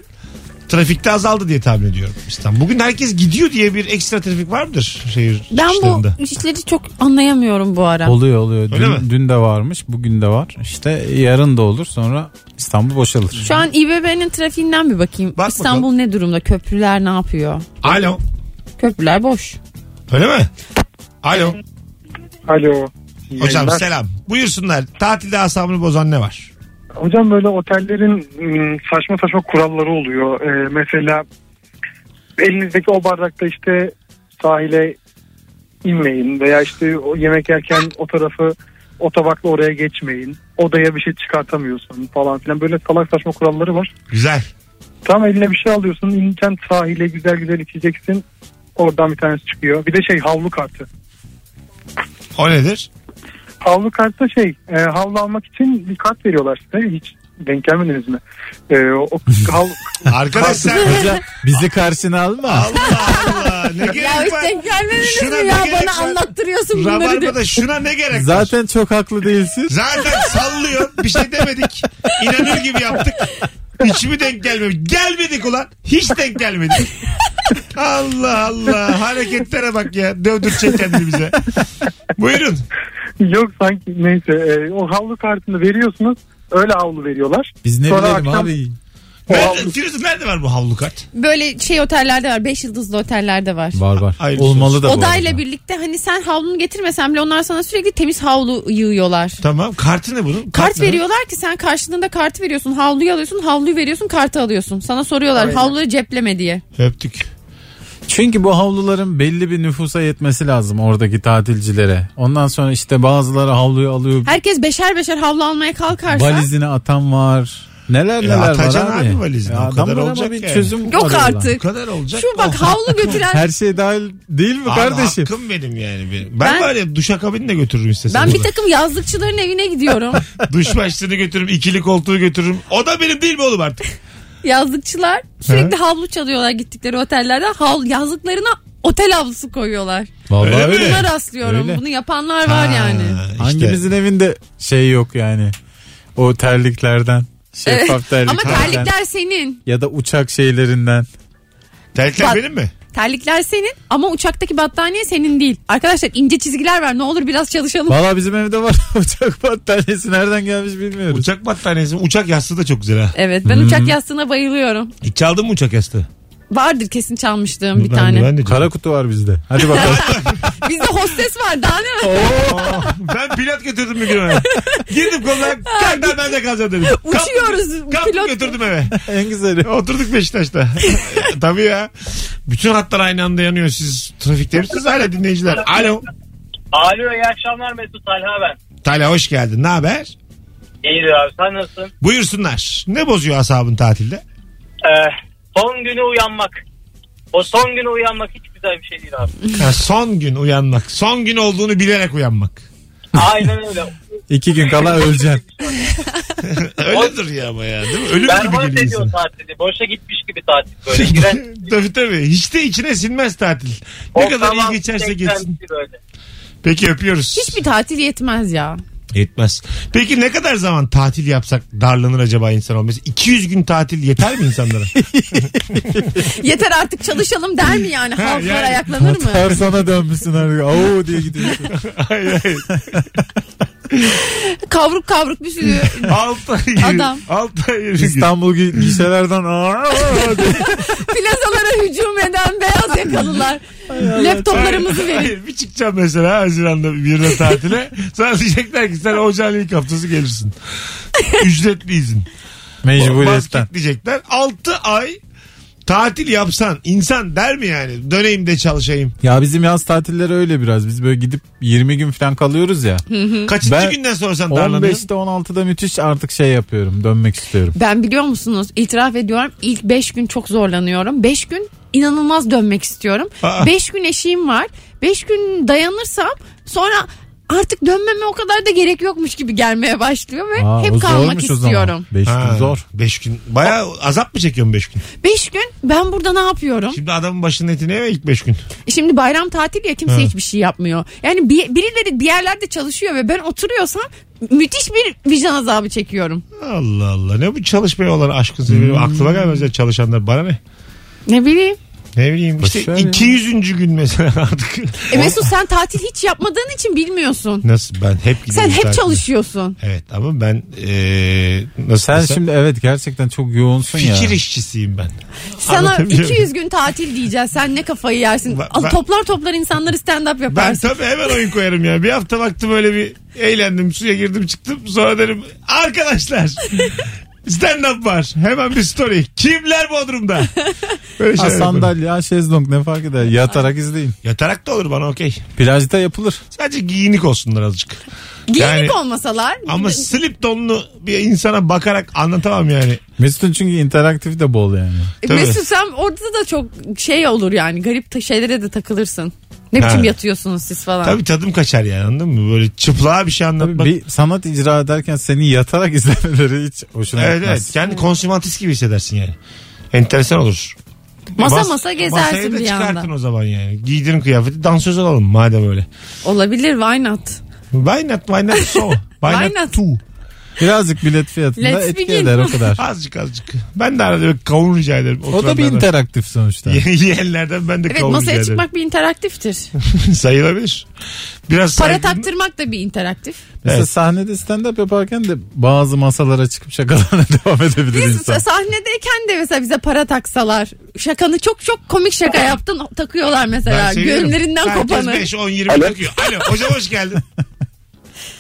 S2: trafikte azaldı diye tahmin ediyorum. İstanbul. Bugün herkes gidiyor diye bir ekstra trafik var mıdır şehir
S3: Ben bu
S2: içlerinde?
S3: işleri çok anlayamıyorum bu ara.
S4: Oluyor oluyor.
S2: Öyle mi?
S4: Dün, dün de varmış bugün de var. İşte yarın da olur sonra İstanbul boşalır.
S3: Şu an İBB'nin trafiğinden bir bakayım.
S2: Bak
S3: İstanbul
S2: bakalım.
S3: ne durumda? Köprüler ne yapıyor?
S2: Alo.
S3: Köprüler boş.
S2: Öyle mi? Alo.
S8: Alo.
S2: Hocam selam. Buyursunlar. Tatilde asabını bozan ne var?
S8: Hocam böyle otellerin mm, saçma saçma kuralları oluyor. Ee, mesela elinizdeki o bardakta işte sahile inmeyin veya işte o yemek yerken o tarafı o tabakla oraya geçmeyin. Odaya bir şey çıkartamıyorsun falan filan. Böyle salak saçma kuralları var.
S2: Güzel.
S8: Tam eline bir şey alıyorsun. ineceksin sahile güzel güzel içeceksin. Oradan bir tanesi çıkıyor. Bir de şey havlu kartı.
S2: O nedir?
S8: Havlu kartta şey e, havlu almak için bir kart veriyorlar size. Hiç denk gelmediniz mi? E, o havlu,
S2: Arkadaş sen
S4: Hoca bizi karşına alma.
S2: Allah Allah ne
S3: Ya
S2: gerek var?
S3: işte gelmediniz
S2: Şuna
S3: mi
S2: ne
S3: ya
S2: gerek
S3: bana
S2: var?
S3: anlattırıyorsun bunları. diye.
S2: Rabarba'da şuna ne gerek var?
S4: Zaten çok haklı değilsin.
S2: Zaten sallıyor. Bir şey demedik. İnanır gibi yaptık. Hiç mi denk gelmemiş? Gelmedik ulan. Hiç denk gelmedik. Allah Allah. Hareketlere bak ya. Dövdürecek kendini bize. Buyurun.
S8: Yok sanki neyse e, o havlu kartını veriyorsunuz öyle havlu veriyorlar.
S4: Biz ne
S8: Sonra
S4: bilelim
S8: akşam-
S4: abi.
S8: O
S2: Nerede,
S8: havlu-
S2: Firuze nerede var bu havlu kart?
S3: Böyle şey otellerde var. Beş yıldızlı otellerde var.
S4: Var var.
S2: Hayırlısı
S4: Olmalı da bu
S3: Odayla
S4: arada.
S3: birlikte hani sen havlunu getirmesen bile onlar sana sürekli temiz havlu yığıyorlar.
S2: Tamam. Kartı ne bunun?
S3: Kart
S2: ne?
S3: veriyorlar ki sen karşılığında kartı veriyorsun. Havluyu alıyorsun, havluyu veriyorsun, kartı alıyorsun. Sana soruyorlar havluyu cepleme diye.
S2: Öptük.
S4: Çünkü bu havluların belli bir nüfusa yetmesi lazım oradaki tatilcilere. Ondan sonra işte bazıları havluyu alıyor.
S3: Herkes beşer beşer havlu almaya kalkarsa.
S4: Valizini atan var. Neler
S2: E,
S4: neler var
S2: atacaksın
S4: abi.
S2: abi valizini. O
S4: adam
S2: kadar
S4: var ama
S2: olacak
S4: bir
S2: yani.
S4: çözüm
S3: Yok
S4: arıyorlar.
S2: Bu
S3: artık.
S2: kadar olacak.
S3: Şu bak havlu götüren.
S4: Oh. Her şey dahil değil mi
S2: Abi
S4: kardeşim?
S2: hakkım benim yani. benim. Ben,
S3: Ben-
S2: böyle duşakabini de götürürüm istesem.
S3: ben bir
S2: Ulan.
S3: takım yazlıkçıların evine gidiyorum.
S2: Duş başlığını götürürüm, ikili koltuğu götürürüm. O da benim değil mi oğlum artık?
S3: Yazlıkçılar sürekli havlu çalıyorlar gittikleri otellerde. Havlu, yazlıklarına otel havlusu koyuyorlar.
S4: Vallahi
S2: Öyle mi?
S4: öyle.
S3: Buna rastlıyorum.
S4: Eh, Öyle.
S3: Bunu yapanlar var yani.
S2: Ha, işte.
S4: Hangimizin evinde şey yok yani. O terliklerden. Şeffaf
S3: Ama
S4: terliklerden.
S3: terlikler senin.
S4: Ya da uçak şeylerinden.
S2: Terlikler
S3: Bak-
S2: benim mi?
S3: Terlikler senin ama uçaktaki battaniye senin değil. Arkadaşlar ince çizgiler var. Ne olur biraz çalışalım.
S4: Valla bizim evde var uçak battaniyesi. Nereden gelmiş bilmiyoruz.
S2: Uçak battaniyesi mi? Uçak yastığı da çok güzel ha.
S3: Evet ben
S2: Hmm.
S3: uçak yastığına bayılıyorum.
S2: Hiç çaldın mı uçak yastığı?
S3: Vardır kesin çalmıştığım bir
S2: Ben-
S3: tane.
S2: Ben, de
S4: Kara kutu var bizde. Hadi bakalım.
S3: Bizde hostes var daha ne var?
S2: ben pilot götürdüm bir gün ona. Girdim koluna kalktan ben de kalacağım dedim.
S3: Uçuyoruz,
S2: Kaptım
S3: pilot.
S2: götürdüm eve.
S4: en güzeli.
S2: Oturduk Beşiktaş'ta. Tabii ya. Bütün hatlar aynı anda yanıyor. Siz trafikte misiniz hala dinleyiciler? Alo.
S5: Alo iyi akşamlar Mesut Talha ben.
S2: Talha hoş geldin. Ne haber?
S5: İyidir abi sen nasılsın?
S2: Buyursunlar. Ne bozuyor asabın tatilde?
S5: Ee, son günü uyanmak. O son günü uyanmak hiç güzel bir şey değil abi.
S2: Ha, son gün uyanmak. Son gün olduğunu bilerek uyanmak.
S5: Aynen öyle.
S4: İki gün kala öleceksin.
S2: Öyledir ya ama ya değil mi? Ölüm gibi
S7: şey
S5: Berbat
S2: geliyor
S5: ediyor
S2: insana.
S5: tatili. Boşa gitmiş gibi tatil böyle. Giren,
S2: tabii tabii. Hiç de içine sinmez tatil. Ne kadar iyi geçerse geçsin. Peki öpüyoruz.
S3: Hiçbir tatil yetmez ya.
S2: Yetmez. Peki ne kadar zaman tatil yapsak darlanır acaba insan olması? 200 gün tatil yeter mi insanlara?
S3: Yeter artık çalışalım der mi yani? Halklar
S2: yani.
S3: ayaklanır mı?
S4: Tersana dönmüşsün artık. Oo diye gidiyorsun.
S2: hayır hayır.
S3: Kavruk kavruk bir sürü.
S2: 6 ay yürü.
S3: Adam.
S2: 6 ay yürü.
S4: İstanbul gi- gişelerden "Aa!" diye.
S3: plazalara hücum eden beyaz yakalılar. Laptoplarımızı verin.
S2: Hayır, bir çıkacağım mesela Haziran'da birine tatile. Sana diyecekler ki sen ocağın ilk haftası gelirsin. Ücretli izin.
S4: Mecburiyetten.
S2: Basket diyecekler. 6 ay tatil yapsan insan der mi yani? Döneyim de çalışayım.
S4: Ya bizim yaz tatilleri öyle biraz. Biz böyle gidip 20 gün falan kalıyoruz ya.
S2: Kaçıncı
S4: Ben-
S2: günden sonra sen darlanıyorsun?
S4: 15'te 16'da müthiş artık şey yapıyorum. Dönmek istiyorum.
S3: Ben biliyor musunuz itiraf ediyorum ilk 5 gün çok zorlanıyorum. 5 gün inanılmaz dönmek istiyorum.
S2: Aa.
S3: 5 gün eşiğim var. 5 gün dayanırsam sonra artık dönmeme o kadar da gerek yokmuş gibi gelmeye başlıyor ve
S4: Aa, o
S3: hep kalmak
S4: zormuş o zaman.
S3: istiyorum.
S4: Beş gün zor.
S2: 5 gün. Bayağı azap mı çekiyorsun 5 gün?
S3: 5 gün ben burada ne yapıyorum?
S2: Şimdi adamın başının etini eve ilk 5 gün.
S3: Şimdi bayram tatil ya kimse
S2: Ha.
S3: hiçbir şey yapmıyor. Yani bir- birileri bir yerlerde çalışıyor ve ben oturuyorsam müthiş bir vicdan azabı çekiyorum.
S2: Allah Allah. Ne bu çalışmaya olan aşkın sebebi?
S4: Hmm.
S2: Aklıma gelmez ya çalışanlar. Bana ne?
S3: Ne bileyim.
S2: Ne bileyim işte
S4: Boşver ya.
S2: 200. gün mesela artık.
S3: E Mesut sen tatil hiç yapmadığın için bilmiyorsun.
S2: Nasıl ben hep
S3: Sen
S2: gidiyorum
S3: hep
S2: tatile.
S3: çalışıyorsun.
S2: Evet ama ben eee nasıl
S4: Sen
S2: desem,
S4: şimdi evet gerçekten çok yoğunsun ya.
S2: fikir işçisiyim ben.
S3: Sana
S2: Anlatabiliyor muyum?
S3: 200 gün tatil diyeceğiz. Sen ne kafayı yersin?
S2: Ben-
S3: Al,
S2: ben-
S3: toplar toplar insanları stand up
S2: Ben
S3: yaparsın.
S2: tabii hemen oyun koyarım ya. Bir hafta baktım öyle bir eğlendim. Suya girdim çıktım. Sonra derim arkadaşlar stand up var. Hemen bir story. Kimler Bodrum'da? Böyle
S4: Ha,
S2: şeyler yaparım.
S4: sandalye, ha, şezlong ne fark eder? Yatarak izleyin.
S2: Yatarak da olur bana okey.
S4: Plajda yapılır.
S2: Sadece giyinik olsunlar azıcık.
S3: Giyinik
S2: Yani-
S3: olmasalar.
S2: Ama slip donlu bir insana bakarak anlatamam yani.
S4: Mesut'un çünkü interaktifi de bol yani.
S3: E,
S2: tabii.
S3: Mesut sen orada da çok şey olur yani. Garip ta- şeylere de takılırsın. Ne
S2: Ha.
S3: biçim yatıyorsunuz siz falan.
S2: Tabii tadım kaçar yani anladın mı? Böyle çıplığa bir şey
S4: Tabii
S2: anlatmak.
S4: bir sanat icra ederken seni yatarak izlemeleri hiç hoşuna
S2: Evet
S4: gitmez.
S2: evet. Kendi konsümatist gibi hissedersin yani. Enteresan olur.
S3: Masa
S2: Mas-
S3: masa gezersin
S2: masayı da
S3: bir yandan.
S2: çıkartın o zaman yani. Giydirin kıyafeti dansöz olalım madem öyle.
S3: Olabilir why not?
S2: Why not? Why not so? Why,
S3: Why
S2: not,
S3: not?
S2: too?
S4: Birazcık bilet fiyatında
S3: Let's
S4: etki
S3: begin.
S4: eder o kadar.
S2: Azıcık azıcık. Ben de arada böyle kavun rica ederim.
S4: o da bir
S2: Oturanlardan.
S4: interaktif sonuçta.
S2: Yiyenlerden ben de
S3: Evet
S2: kavun rica
S3: masaya
S2: ederim.
S3: çıkmak bir interaktiftir.
S2: Sayılabilir. Biraz
S3: Para
S2: saygın-
S3: taktırmak da bir interaktif.
S4: Mesela
S2: Evet.
S4: sahnede stand-up yaparken de bazı masalara çıkıp şakalarına devam edebilir
S3: Biz
S4: insan.
S3: sahnedeyken de mesela bize para taksalar şakanı çok çok komik şaka yaptın takıyorlar mesela.
S2: Ben seviyorum.
S3: Gönüllerinden
S2: Herkes
S3: kopanı.
S2: 5, 10, 20
S7: Alo.
S2: takıyor. Alo hocam hoş geldin.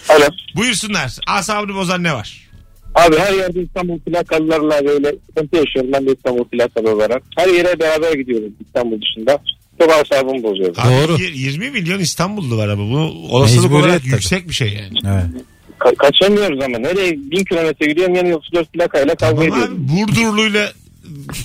S7: Alo.
S2: Buyursunlar. Asabını bozan ne var?
S7: Abi her yerde İstanbul plakalılarla böyle sıkıntı yaşıyorum ben de İstanbul plakalı olarak. Her yere beraber gidiyoruz İstanbul dışında. Çok asabımı bozuyor.
S2: Abi
S4: Doğru.
S2: yir- 20 milyon İstanbullu var ama bu olasılık
S4: Mecburiyet
S2: olarak
S4: tabii.
S2: yüksek bir şey yani.
S4: Evet.
S7: Ka- kaçamıyoruz ama. Nereye bin kilometre gidiyorum yani 34 plakayla kavga
S2: Ama abi
S7: ediyorum.
S2: Burdurlu'yla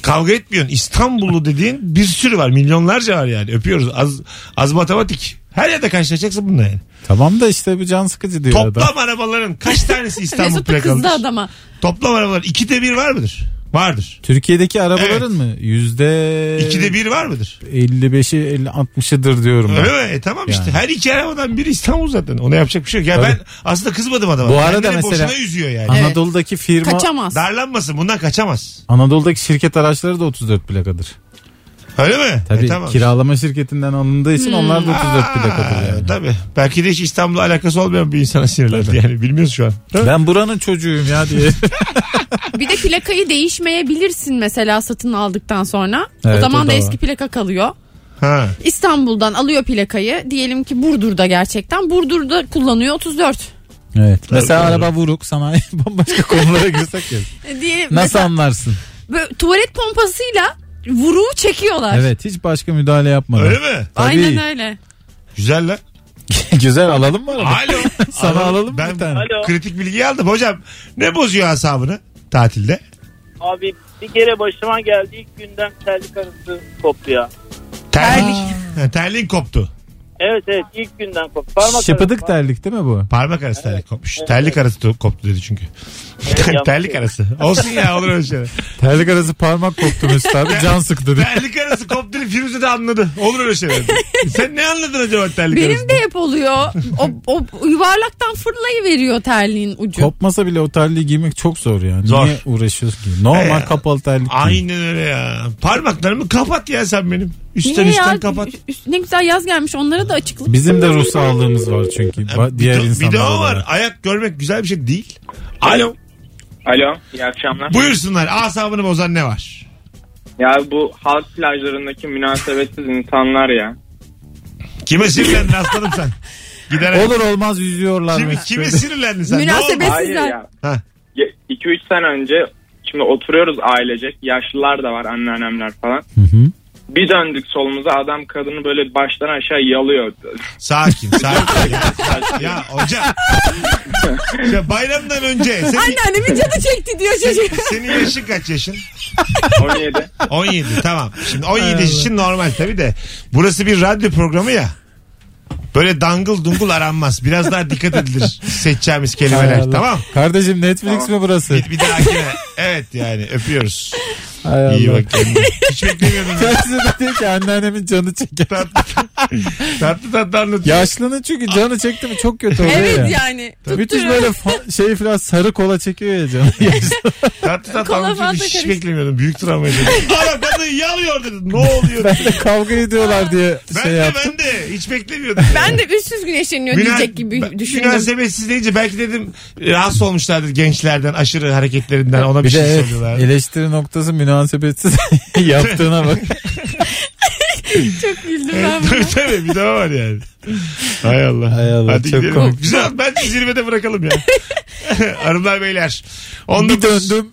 S2: kavga etmiyorsun. İstanbullu dediğin bir sürü var. Milyonlarca var yani. Öpüyoruz. Az, az matematik. Her yerde karşılaşacaksın bununla yani.
S4: Tamam da işte bu can sıkıcı diyor adam.
S2: Toplam arabaların kaç tanesi İstanbul
S3: Mesut da
S2: plakalıdır?
S3: kızdı adama.
S2: Toplam arabaların ikide bir var mıdır? Vardır.
S4: Türkiye'deki arabaların
S2: Evet.
S4: mı? Yüzde Ee,
S2: İkide bir var mıdır?
S4: 55'i 50 60'ıdır diyorum ben.
S2: Öyle mi? E tamam işte.
S4: Yani.
S2: Her iki arabadan biri İstanbul zaten. Ona yapacak bir şey yok. Ya
S4: Tabii.
S2: ben aslında kızmadım adama.
S4: Bu arada
S2: Kendini
S4: mesela-
S2: boşuna üzüyor yani.
S3: Evet.
S4: Anadolu'daki firma
S3: Kaçamaz.
S2: Darlanmasın. Bundan kaçamaz.
S4: Anadolu'daki şirket araçları da 34 plakadır.
S2: Öyle mi?
S4: Tabii
S2: E tamam.
S4: kiralama şirketinden alındığı
S3: Hmm.
S4: için onlar da 34
S2: Aa,
S4: plakadır yani.
S2: Tabii. Belki de hiç İstanbul'la alakası olmayan bir insana sinirlendi yani. Bilmiyoruz şu an. Değil mi?
S4: Ben buranın çocuğuyum ya diye.
S3: Bir de plakayı değişmeyebilirsin mesela satın aldıktan sonra. o
S4: Evet,
S3: zaman
S4: o
S3: da,
S4: da var.
S3: eski plaka kalıyor.
S2: Ha.
S3: İstanbul'dan alıyor plakayı. Diyelim ki Burdur'da gerçekten. Burdur'da kullanıyor 34.
S4: evet. Mesela
S2: Tabii,
S4: araba vuruk sanayi bambaşka konulara girsek ya.
S3: E, Diyelim
S4: Nasıl
S3: mesela
S4: anlarsın?
S3: böyle tuvalet pompasıyla vuruğu çekiyorlar.
S4: Evet hiç başka müdahale yapmadan.
S2: Öyle mi?
S4: Tabii.
S3: Aynen öyle.
S2: Güzel lan.
S4: Güzel alalım mı? arada?
S2: Alo.
S4: Sana
S2: Alo.
S4: alalım mı
S2: ben
S4: bir tane?
S5: Alo.
S2: kritik bilgi aldım. Hocam ne bozuyor asabını tatilde?
S5: Abi bir kere başıma geldi ilk günden terlik arası koptu ya.
S2: Terlik. Ha, terliğin koptu.
S5: Evet evet ilk günden koptu. Parmak
S4: Şıpıdık
S5: arası-
S4: terlik değil mi bu?
S2: Parmak arası terlik kopmuş. terlik arası to- koptu dedi çünkü.
S5: yanlış.
S2: terlik arası. Olsun ya olur öyle şeyler.
S4: Terlik arası parmak koptu Mesut abi can sıktı. dedi.
S2: terlik arası koptu dedi Firuze de anladı. Olur öyle şeyler. Sen ne anladın acaba terlik
S3: Benim
S2: arasında?
S3: de hep oluyor. O, o yuvarlaktan fırlayıveriyor terliğin ucu.
S4: Kopmasa bile o terliği giymek çok zor yani.
S2: Zor.
S4: Niye uğraşıyorsun ki? Normal
S2: Ee,
S4: kapalı terlik giy.
S2: Aynen öyle ya. Parmaklarımı kapat ya sen benim. Üstten
S3: Niye
S2: üstten
S3: ya?
S2: kapat.
S3: Üst- üst- ne güzel yaz gelmiş onlara da açıklık.
S4: Bizim de ruh sağlığımız var çünkü. Ba- diğer
S2: Ee, bir, de-
S4: insanlar
S2: bir de o var.
S4: olarak.
S2: Ayak görmek güzel bir şey değil. Alo.
S9: Alo iyi akşamlar.
S2: Buyursunlar. Asabını bozan ne var?
S9: Ya bu halk plajlarındaki münasebetsiz insanlar ya.
S2: Kime sinirlendin aslanım sen? Gider.
S4: Olur olmaz yüzüyorlar.
S2: Kimi,
S4: Mesut
S2: kime
S4: Bey.
S2: sinirlendin sen?
S3: Münasebet-
S2: Ne oldu?
S9: Hayır
S3: Sizler-
S9: ya.
S2: Ha.
S9: 2-3 sene önce şimdi oturuyoruz ailecek. Yaşlılar da var anneannemler falan.
S4: Hı hı.
S9: Bir döndük solumuza adam kadını böyle baştan aşağı yalıyor.
S2: Sakin sakin. ya, ya hocam. Ya bayramdan önce senin,
S3: Anneannemin canı çekti diyor çocuk.
S2: senin yaşın kaç yaşın?
S9: 17.
S2: 17 tamam. Şimdi 17 yaşın normal tabii de. Burası bir radyo programı ya. Böyle dangıl dungul aranmaz. Biraz daha dikkat edilir seçeceğimiz
S4: Hay
S2: kelimeler
S4: Allah.
S2: tamam.
S4: Kardeşim Netflix mi burası?
S2: Bir, bir dahakine. Evet yani öpüyoruz.
S4: Hay Allah.
S2: İyi bak kendine. Hiç beklemiyordum. ben.
S4: Kendisi de diyor ki anneannemin canı çeker.
S2: tatlı tatlı tatlı anlatıyor.
S4: Yaşlının çünkü canı çekti mi çok kötü oluyor ya.
S3: evet yani.
S4: Müthiş
S3: Tutturuyor.
S4: böyle fa- şey falan sarı kola çekiyor ya canı.
S2: tatlı tatlı
S3: Kola
S2: anlatıyor.
S3: fazla
S2: Hiç
S3: karıştı.
S2: beklemiyordum. Büyük travma yaşadım. Ana kadın yalıyor dedim. Ne oluyor?
S4: ben de kavga ediyorlar diye
S2: Ben
S4: şey
S2: de
S4: yaptım.
S2: ben de. Hiç beklemiyordum.
S3: Ben de üstsüz güneşleniyor
S2: Müna-
S3: diyecek gibi
S2: ben-
S3: düşündüm.
S2: Münasebetsiz deyince belki dedim rahatsız olmuşlardır gençlerden aşırı hareketlerinden ona bir,
S4: Bir de
S2: şey
S4: evet,
S2: söylüyorlar.
S4: eleştiri noktası münasebetsiz yaptığına bak.
S3: Çok güldüm
S2: Evet,
S3: ben buna.
S2: tabii tabii bir daha var yani. Hay Allah.
S4: Hay Allah,
S2: Hadi
S4: çok
S2: gidelim.
S4: komik.
S2: Güzel ben de zirvede bırakalım ya. Hanımlar beyler.
S4: Bir
S2: 19,
S4: döndüm.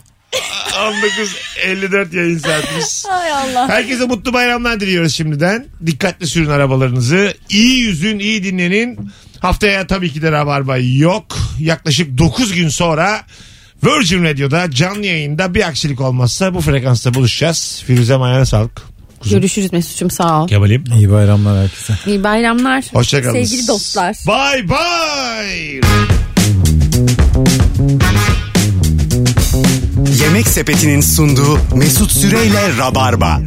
S2: 19.54 yayın saatimiz.
S3: Hay Allah.
S2: Herkese mutlu bayramlar diliyoruz şimdiden. Dikkatli sürün arabalarınızı. İyi yüzün, iyi dinlenin. Haftaya tabii ki de rabarba yok. Yaklaşık 9 gün sonra Virgin Radio'da canlı yayında bir aksilik olmazsa bu frekansta buluşacağız. Firuze Mayan'a sağlık. Kuzum.
S3: Görüşürüz Mesut'cum sağ ol.
S2: Kemal'im.
S4: İyi bayramlar herkese.
S3: İyi bayramlar.
S2: Hoşçakalın.
S3: Sevgili dostlar.
S2: Bay bay.
S1: Yemek Sepeti'nin sunduğu Mesut Süreyle Rabarba.